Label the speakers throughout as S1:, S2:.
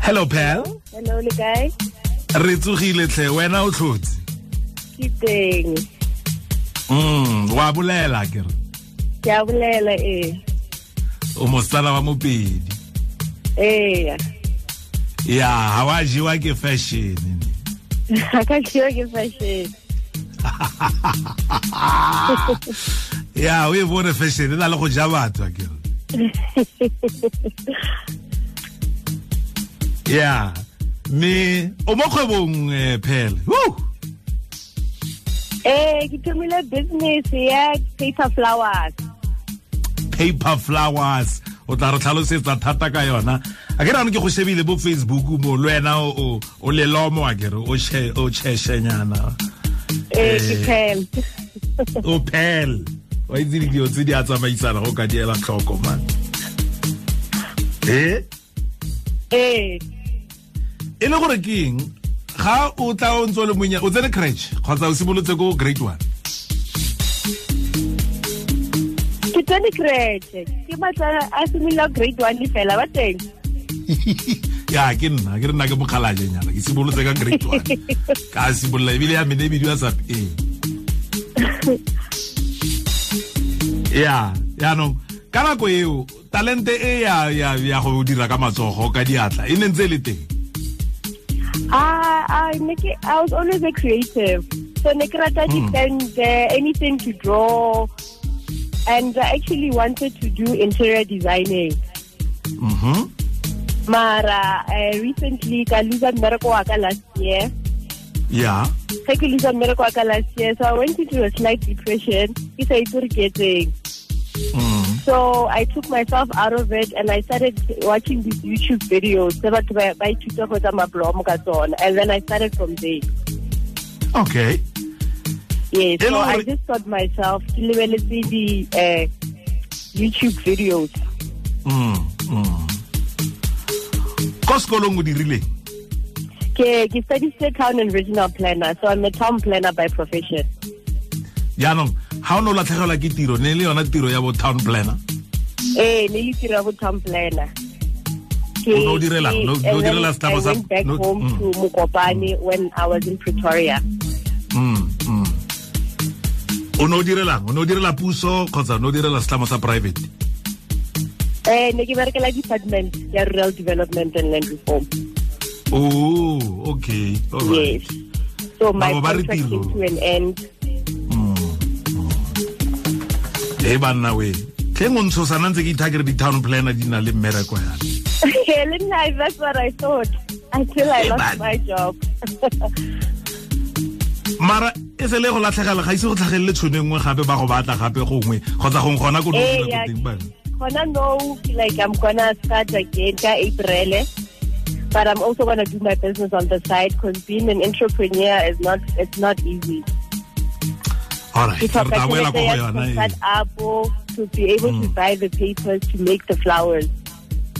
S1: hello pal
S2: hello le kae
S1: re tsogile tlhe wena o tlhotse
S2: ke teng
S1: mm wa bolela ke re
S2: ke a bolela ee
S1: o mosala wa mopedi
S2: ee
S1: ya ha wa jewa ke fashion
S2: a ka tlhiwa ke fashion
S1: ya o e bone fashion e na le go ja batho ke re ya me o mo kgwebong eh, phele Woo!
S2: ee ke thomile business ya paper flowers
S1: paper flowers o tla re tlhalosetsa thata ka yona a ke rano ke go shebile bo facebook mo le wena o- o o lelomo a kere o che- o cheshenyana
S2: ee ke pel
S1: o pel wa itse didio tse di a tsamaisana go ka diela tlhoko man e
S2: ee
S1: e le gore ke eng ga o tla o ntse o le monya o tsene crutch kgotsa o simolotse ko grade one
S2: ke tony crete ke matla a simolola grade one fela ba teng
S1: ya ke nna ke re nna ke mokgalajenyana ke simolotse ka grade one ka simolola ebile ya mene bidiwa sa ee ya yaanong ka nako eo talente e ya ya ya go dira ka matsogo ka diatla e ne ntse e le teng
S2: Ah, ah, ne ke- I was always a creative. So ne ke rata dipente, anything to draw. And I actually wanted to do interior designing.
S1: Mhm.
S2: Mara uh, recently ka lose mmereko wa ka last year.
S1: ya
S2: Ge ke lose mmereko wa ka last year. So I went into a slight depression. Ke sa itse hore ke etseng.
S1: Mm.
S2: So I took myself out of it and I started watching these YouTube videos. tse batho ba- ba ithuta go etsa mablomo ka tsona. And then I started from there.
S1: okay
S2: Yes,
S1: E le
S2: so I
S1: hore-
S2: just thought myself, ke lebeletse di uh, YouTube videos.
S1: Mm, mm. ko sekolong o dirileng
S2: Ke ke studied town and regional planner, so I'm a town planner by profession.
S1: yaanong ga o ne o latlhegelwa ke tiro ne e le yona tiro ya bo town planner
S2: Eh, ne le tira go town planner.
S1: O
S2: Ke-
S1: ne o direlang?
S2: ke-
S1: Ne o- ne o
S2: and then
S1: direla
S2: I
S1: setabo sa-
S2: went back
S1: ne o-
S2: home
S1: mm.
S2: to Mokopane when I was in Pretoria.
S1: Mm, mm. o ne o direlang o ne o direla puso kgotsa o ne o direla setlamo sa private
S2: Eh, ne ke berekela department ya rural development and land reform.
S1: oh okay all right.
S2: Yes. So my
S1: Mama, ba re
S2: contract came
S1: tiro.
S2: to an end.
S1: e banna we tlheng o ntsho sana ntse ke ithakere di-town planner di na le mmereko yana
S2: Helen, I- that's what I thought until I
S1: Eh,
S2: lost
S1: man.
S2: my job.
S1: mara e se le go latlhegela ga ise go tlhagelele tshone nngwe gape ba go batla gape gongwe kgotsa gong gona ko no
S2: Eh,
S1: dula ko
S2: yeah.
S1: teng bana
S2: Hona no, like I'm gonna start again ka April, but I'm also gonna do my business on the side because being an entrepreneur is not it's not easy.
S1: all right
S2: Ke
S1: re
S2: hloka
S1: tla boela ko go
S2: tjhelete ya
S1: yona Mm. e.
S2: ho start up to be able to buy the papers to make the flowers.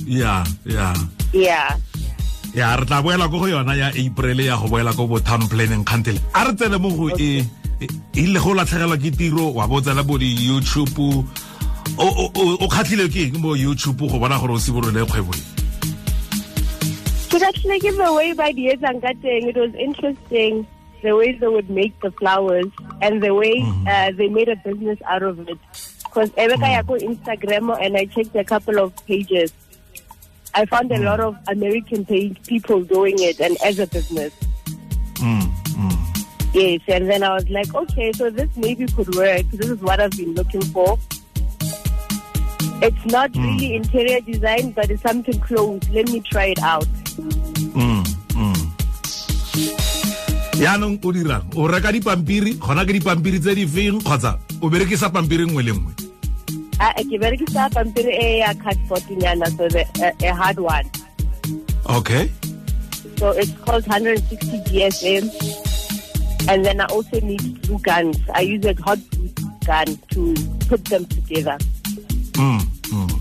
S1: ya ya
S2: Yeah.
S1: ya re tla boela ko go yona ya april ya go boela ko bo town planning kgantele a re tsene mo go e e- e le go latlhegelwa ke tiro wa bo tsena bo di-youtube o- o o- o kgatlhile ke eng mo youtube go bona gore o simolole kgwebo e?
S2: So that's like given away by the Ezangateng. It was interesting the way they would make the flowers and the way
S1: Mm-hmm.
S2: uh, they made a business out of it. Because Erica
S1: Mm.
S2: I go Instagram and I checked a couple of pages. I found
S1: Mm.
S2: a lot of American page people doing it and as a business.
S1: Mm, mm.
S2: Yes, and then I was like, okay, so this maybe could work. This is what I've been looking for. It's not really interior design, but it's something close. Let me try it out.
S1: Mm, mm. yaanong o dirang o reka dipampiri gona ke dipampiri tse di feng kgotsa o berekisa pampiri nngwe le nngwe
S2: Ah, ke berekisa pampiri e ya cardboard nyana so the a, a hard one
S1: okay
S2: so it's called 160 gsm and then i also need glue guns i use a hot glue gun to put them together
S1: mm, mm.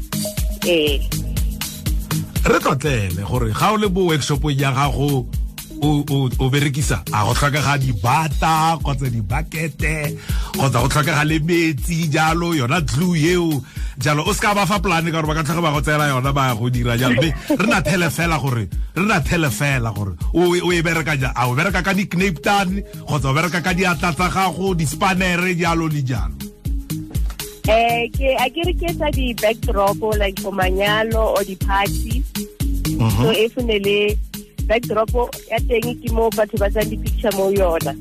S2: eh
S1: re tlotlele gore ga o le bo workshopong ya gago o- o o berekisa a go tlhokega dibata kgotsa dibakete kgotsa go tlhokega le metsi jalo yona tlu eo jalo o seka ba fa plane ka gore ba ka tlhoga ba go tsela yona ba ya go dira jalo mme re na thele fela gore re na thele fela gore o e- o e bereka ja a o bereka ka di-cape town kgotsa o bereka ka diatla tsa gago di-spanere jalo le jalo
S2: Eh, ke a ke re ke etsa di-backdrop like for manyalo or di-party so e fune le backdrop ya teng ke mo batho ba tsang di-picture mo yona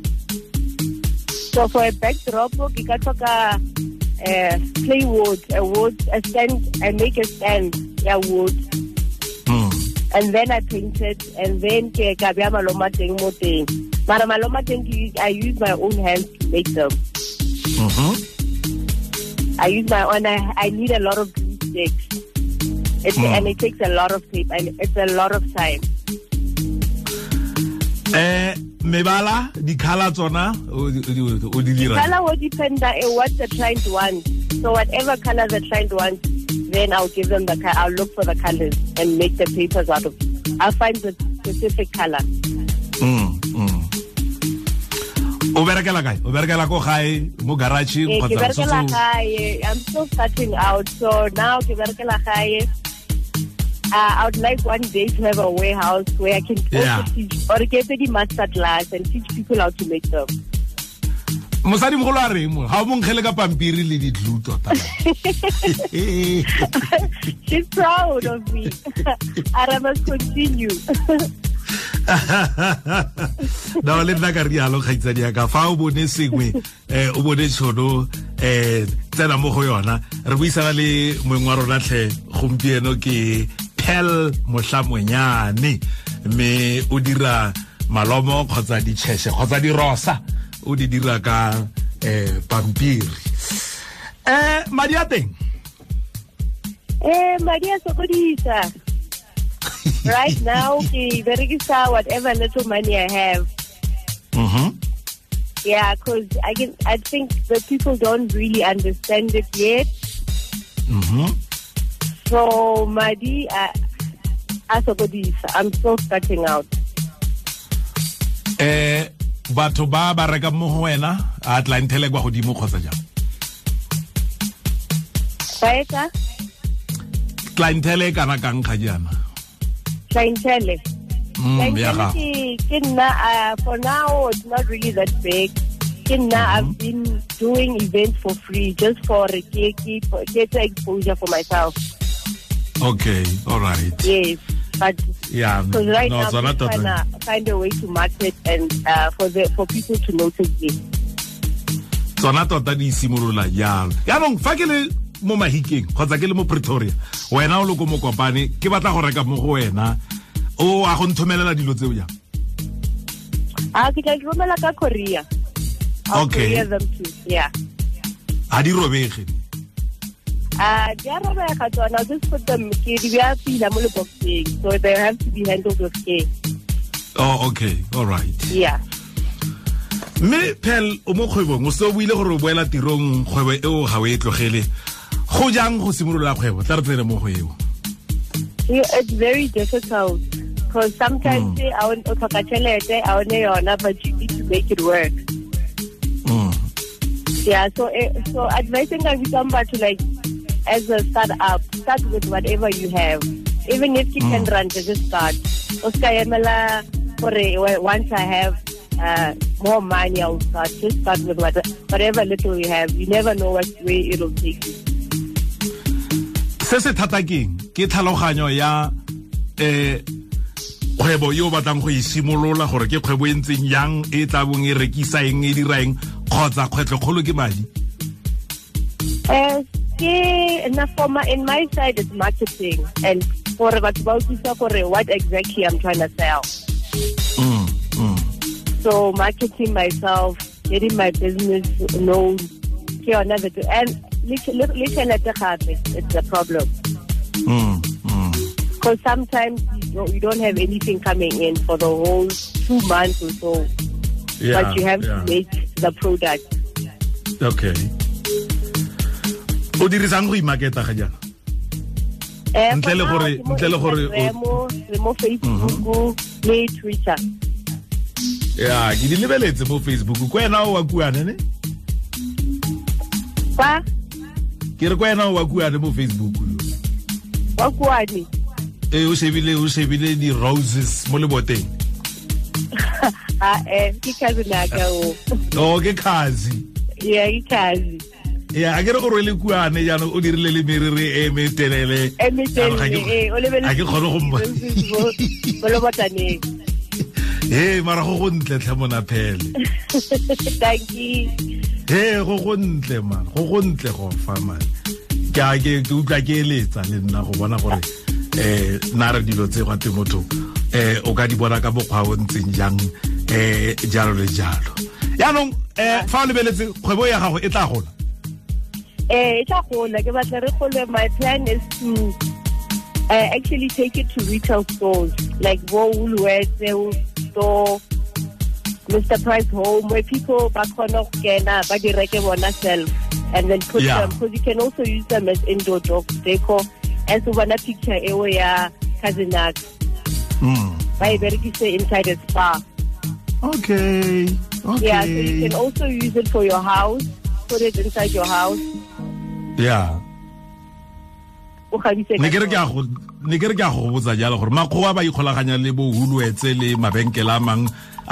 S2: so for a backdrop ke ka tlhoka eh, play wood a wood a stand i make a stand ya wood
S1: Mm.
S2: and then I painted and then ke ka bea maloma teng mo teng mara maloma teng ke- I use my own hands to make them
S1: Mhm.
S2: I use my own I, I need a lot of sticks it's,
S1: Mm.
S2: and it takes a lot of tape and it's a lot of time
S1: eh mebala dikgala tsona o di- o di- o di dira
S2: color will depend on what the client wants so whatever color the client wants then I'll give them the co- I'll look for the colors and make the papers out of I'll find the specific color
S1: Mm, mm. o berekela kae o berekela ko gae mo garage
S2: Eh,
S1: kgotsa
S2: ke berekela
S1: so- so-
S2: gae. I'm still starting out, so now ke berekela gae. Uh, I would like one day to have a warehouse where I can
S1: Yeah.
S2: also teach or get the master class and teach people how to make them.
S1: mosadi mogolo a reng mo ga o monkgele ka pampiri le didlu tota
S2: She's proud of me. and I must continue.
S1: nao le nna ka rialo kgaitsadi yaka fa o bone sengwe um o bone tšhono um tsena mo go yona re buisana le moeng wa rona tlhe gompieno ke pel motlhamonyane mme o dira malomo kgotsa ditšheshe kgotsa dirosa o di dira ka um pampiri um madi a teng
S2: Eh, Maria Sokodisa. Right now, ke berekisa whatever little money I have.
S1: Mhm.
S2: Yeah, because I can. I think the people don't really understand it yet.
S1: Mhm.
S2: So Madi, I, I this. I'm still starting out.
S1: eh batho ba ba reka mo go wena a tla nthele kwa godimo kgotsa jang
S2: Baeta,
S1: clientele kana ka nkga jaana
S2: clientele.
S1: Mm, ya
S2: Clientele
S1: gago
S2: ke- ke nna, uh, for now, it's not really that big. Ke nna, I've
S1: Mm-hmm.
S2: been doing events for free just for ke- ke- for- ke etsa exposure for myself.
S1: okay all right
S2: Yes. But
S1: yeah
S2: because right
S1: no
S2: now,
S1: tsona
S2: I'm trying
S1: tota
S2: to find a way to market and uh, for the for people to notice me.
S1: tsona tota di simolola jalo yaanong fa ke le mo mahikeng kgotsa ke le mo pretoria wena o le ko mokopane ke batla go reka mo go wena o a go nthomelela dilo tseo jang
S2: Ah, ke tla di romela ka Korea. I'll
S1: Okay.
S2: courier them too. Yeah.
S1: ga di robege
S2: Uh, they are robega tsona I'll just put them ke di beya pila mo leboxeng so they have to be handled with care
S1: oh okay all right
S2: yeah
S1: mme pel o mo kgwebong o se o buile gore o boela tirong kgwebo eo ga o e tlogele go jang go simolola kgwebo tla re tsene mo go eo
S2: You- it's very difficult because sometimes eh, I want to tšhelete a one yona but you need to make it work
S1: Mm,
S2: yeah so eh, so advice nka bitsang batho like as a start up start with whatever you have even if you can run just start o ska emela gore eh, once i have uh, more money i'll start just start with what, whatever little you have you never know what way it'll take you
S1: se se thata keng ke tlhaloganyo ya eh kgwebo yo o batlang go e simolola gore ke kgwebo e ntseng yang e tla bong e rekisa eng e dira eng kgotsa kgwetlokgolo ke madi
S2: Eh, ke na for my, in my side is marketing and for batho ba utlwisa gore what exactly I'm trying to sell.
S1: Mm, mm.
S2: So marketing myself, getting my business known, ke yona the- and le le- le tjhelete gape it's a problem
S1: Mm, mm.
S2: because sometimes you don't, you don't have anything coming in for the whole two months or so,
S1: Yeah,
S2: but you have
S1: yeah.
S2: to make the product.
S1: okay o dirisang go imaketa ga jaana
S2: Eh,
S1: Ntle le
S2: for now,
S1: gore-
S2: ke mo
S1: ntle le gore o- Mhm.
S2: Instagram-o, le mo Facebook le Twitter.
S1: ya ke di lebeletse mo facebook ko wena o wa kuane ne
S2: Kwa
S1: ke re kwa ena wa kuane mo facebook yo
S2: wa kuane
S1: e o shebile o shebile di-roses mo leboteng
S2: ah eh ke cousin aka o
S1: o Oh, ke khazi
S2: yeah ke cousin
S1: ya a ke re o rwele kuane jaanong o dirile le merere e metelele
S2: e me
S1: Jaanong ga ke-
S2: tele eh o lebele
S1: ga ke kgone go mmo
S2: bo lo botaneng
S1: ee mara go go ntle tlhe monaphele
S2: thank you
S1: ee go go ntle man go go ntle go fa man ke a ke ke utlwa ke eletsa le nna go bona gore eh na re dilo tse gwa te motho eh o ka di bona ka bokgwa o ntseng jang eh jalo le jalo yaanong eh fa o lebeletse kgwebo ya gago e tla gola
S2: Eh, it's a goal. Like, but the goal, my plan is to uh, actually take it to retail stores, like Woolworths store, Mr. Price Home, where people back on off can buy the record self and then put
S1: Yeah.
S2: them because you can also use them as indoor dog decor. And so when I picture area cousin
S1: mm.
S2: by say inside a spa.
S1: okay okay
S2: Yeah, so you can also use it for your house, put it inside your house.
S1: yeah
S2: o kgabise ka
S1: ne ke re
S2: sona.
S1: ke a go ne ke re ke a go botsa jalo gore makgowa ba ikgolaganya le bo hulwetse le mabenkele a mang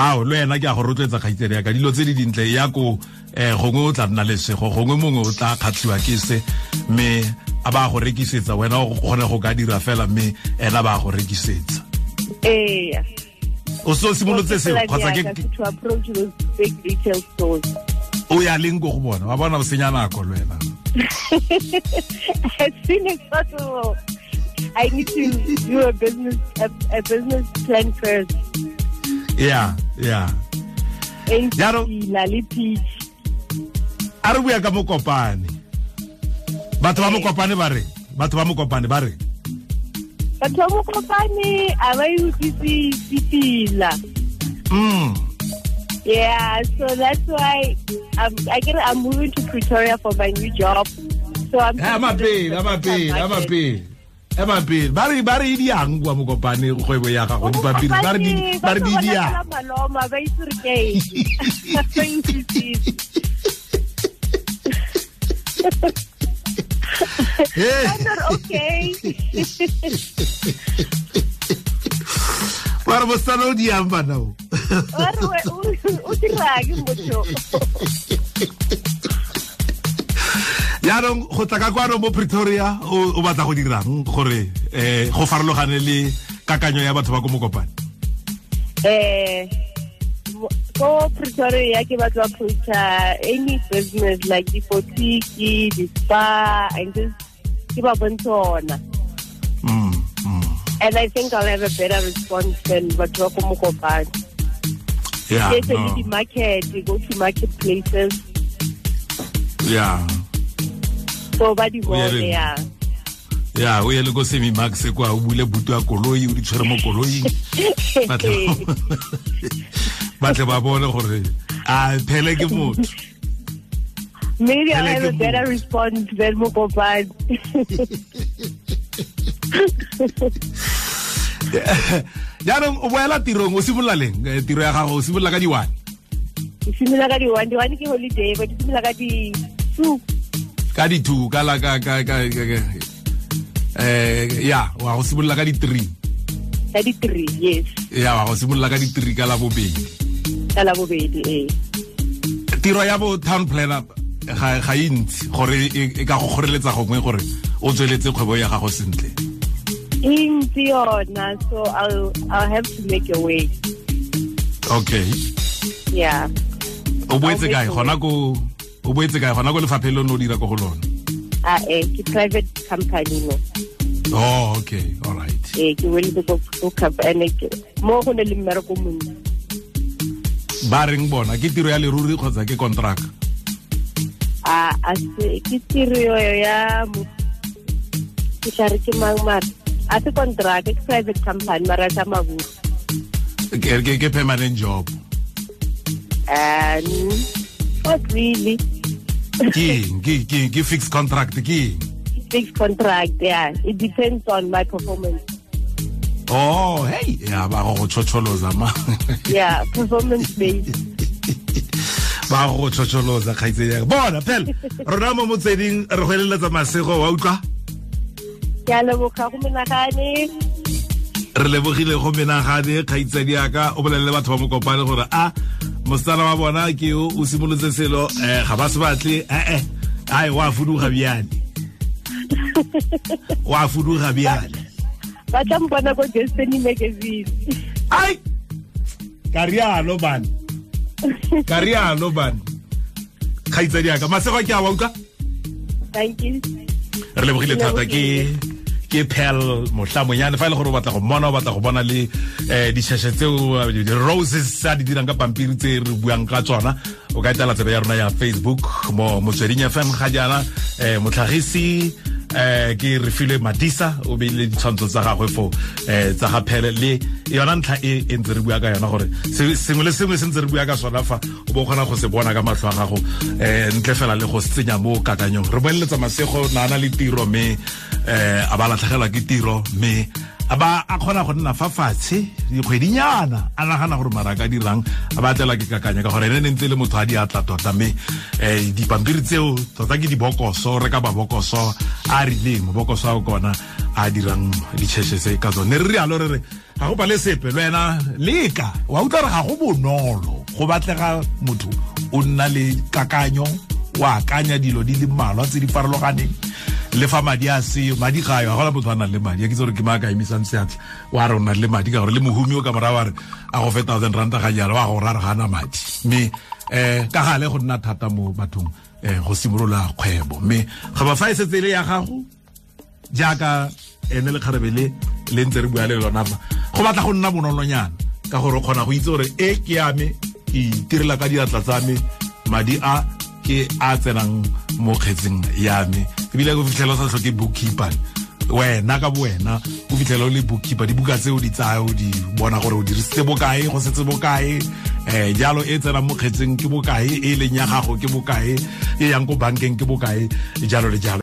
S1: ao le wena ke a go rotloetsa kgaitsedi yaka dilo tse di dintle ya ko um gongwe o tla nna lesego gongwe mongwe o tla kgatlhiwa ke se mme a ba go rekisetsa wena o kgone go ka dira fela mme ena ba go rekisetsa
S2: Eya.
S1: o se o simolotse seo kgotsa
S2: Like, yeah,
S1: ke-
S2: to approach those big retail stores.
S1: o ya leng ko go bona wa bona o senya nako le wena
S2: as soon as possible. I need to do a business a, a business plan first.
S1: ya ya
S2: And
S1: Yaro.
S2: Lali Peach.
S1: a re bua ka mokopane batho ba mokopane ba re batho ba mokopane ba re
S2: But Tomo Company, I want you to
S1: mm
S2: Yeah, so that's why I'm I get, I'm moving to Pretoria for my new job. So I'm
S1: Eh, amapele amapele amapele amapele ba re ba re e diang kwa mokopane kgwebo ya gago dipampiri ba re di- ba re di diang
S2: maloma ba itse re ke eng. Ba intsisitse. I'm
S1: Eh,
S2: not okay.
S1: ba re bosana o diang banao
S2: Or we- o- o dira eng motho?
S1: jaanong go tla ka kwano mo pretoria o o batla go dirang gore um go farologane le kakanyo ya batho ba ko mokopane
S2: Eh, ko pretoria ke batla ho approach-a any business like dipotiki di-spa and just ke ba bontshe ona
S1: Mm, mm.
S2: and i think i'll have a better response than batho ba ko mokopane
S1: Yeah,
S2: Yes, and
S1: Ah, no,
S2: di-market go to market places
S1: yeah.
S2: so ba di bone
S1: Uyareng.
S2: ya
S1: ya o ye le ko semi max kwa o bule butu ya koloi o di tshwere mo koloing batle batle ba bone gore a phele ke motho
S2: maybe i'll
S1: I like
S2: have a
S1: the
S2: better
S1: move.
S2: response than mokopane
S1: jaanong o boela tirong o simolola leng Eh, tiro ya gago o simolola ka di-one
S2: ke simolola ka di-one di-one ke holiday but ke simolola ka di-two
S1: ka di-two ka la ka ka ka ka- ka- eh ya wa go simolola ka di-three
S2: ka di-three yes
S1: ya wa go simolola ka di-three ka la bobedi
S2: ka la bobedi ee
S1: tiro ya bo town planner ga ga e ntsi gore e e ka go kgoreletsa gongwe gore o tsweletse kgwebo ya gago sentle
S2: e ntsi yona so I'll, i'll have to make a way
S1: okay
S2: yeah
S1: o boetse
S2: I'll
S1: kae
S2: make a
S1: gona ko o boetse kae gona ko lefapheng le o ne o dira ko go lona
S2: ah eh ke private company no
S1: oh okay all right
S2: ee ke weletse ko ko cup and mo go ne le mmereko montsi
S1: ba reng bona ke tiro ya leruri kgotsa ke contract
S2: a Ah, a se ke tirio ya mo ke tla re ke mang mara a se contract ke private company mara sa maburu
S1: ke ke- ke permanent job
S2: and Ah, mm. not really
S1: ke eng? ke ke ke fixed contract ke eng?
S2: fixed contract yeah it depends on my performance
S1: oh hey ya ba go go tshotsholoza ma
S2: yeah performance based
S1: ba go tshotsholosa kgaitsedi yaka bona phela rona mo motsweding re go eleletsa masego wa utlwa
S2: ke a leboga go menagane
S1: re lebogile go menagane kgaitsadi yaka o bolelele batho ba mokopane gore a mosetsana "Ah, wa bona ke o o simolotse selo um ga ba se batle ee ae wa fuduga bjale wa fuduga bjale
S2: ba tla mbona ko destiny magazine
S1: ai ka rialo bane ka rialo bane kgaitsadi yaka masego ke a wa utlwa
S2: thank you
S1: re lebogile thata ke ke pel mohlamonyane fa e le gore o batla go mmona o batla go bona le um disheshe tseo eh, di-roses tsa di dirang ka pampiri tse re buang ka tsona o ka etela tsebe ya rona ya facebook mo motsweding fm ga jaana um motlhagisi um ke re filwe madisa o beile ditshwantsho tsa gagwe fo um tsa ga phele le yona ntlha e e ntse re bua ka yona gore se- sengwe le sengwe se ntse re bua ka sona fa o bo kgona go se bona ka matlho a gago um ntle fela le go se tsenya mo kakanyong re boeleletsa masego naana le tiro mme um a ba latlhegelwa ke tiro mme a ba a kgona go nna fa fatshe dikgwedinyana a nagana gore mara a ka dirang a ba tlelwa ke kakanyo ka gore ene ne ntse e le motho a di atla tota mme um dipampiri tseo tota ke dibokoso re ka babokoso a a rileng mobokoso a o kona a a dirang ditšheshe tse ka tsone ne re rialo re re ga go ba le sepe le wena leka wa utlwa re ga go bonolo go batlega motho o nna le kakanyo o akanya dilo di le mmalwa tse di farologaneng le fa madi a seo madi ga yo ga gona motho a nang le madi a ke tse gore ke maa ka emisang seatla wa re o na le madi ka gore le mohumi o ka mora wa re a go fe thousand ranta ga jalo wa go ra re ga na madi mme um ka gale go nna thata mo bathong um go simolola kgwebo mme ga ba fa e setse e le ya gago jaaka ene le kgarebe le le ntse re bua le lona fa go batla go nna bonolonyana ka gore o kgona go itse gore e ke ya me ke itirela ka diatla tsa me madi a ke a tsenang mo kgetseng ya me ebile go fitlhela o sa tlhoke bookkeeper wena ka bo wena o fitlhela o le bookkeeper dibuka tse o di tsaya o di bona gore o dirisitse bokae go setse bokae um jalo e tsenang mo kgetseng ke bokae e e leng ya gago ke bokae e yang ko bankeng ke bokae jalo le jalo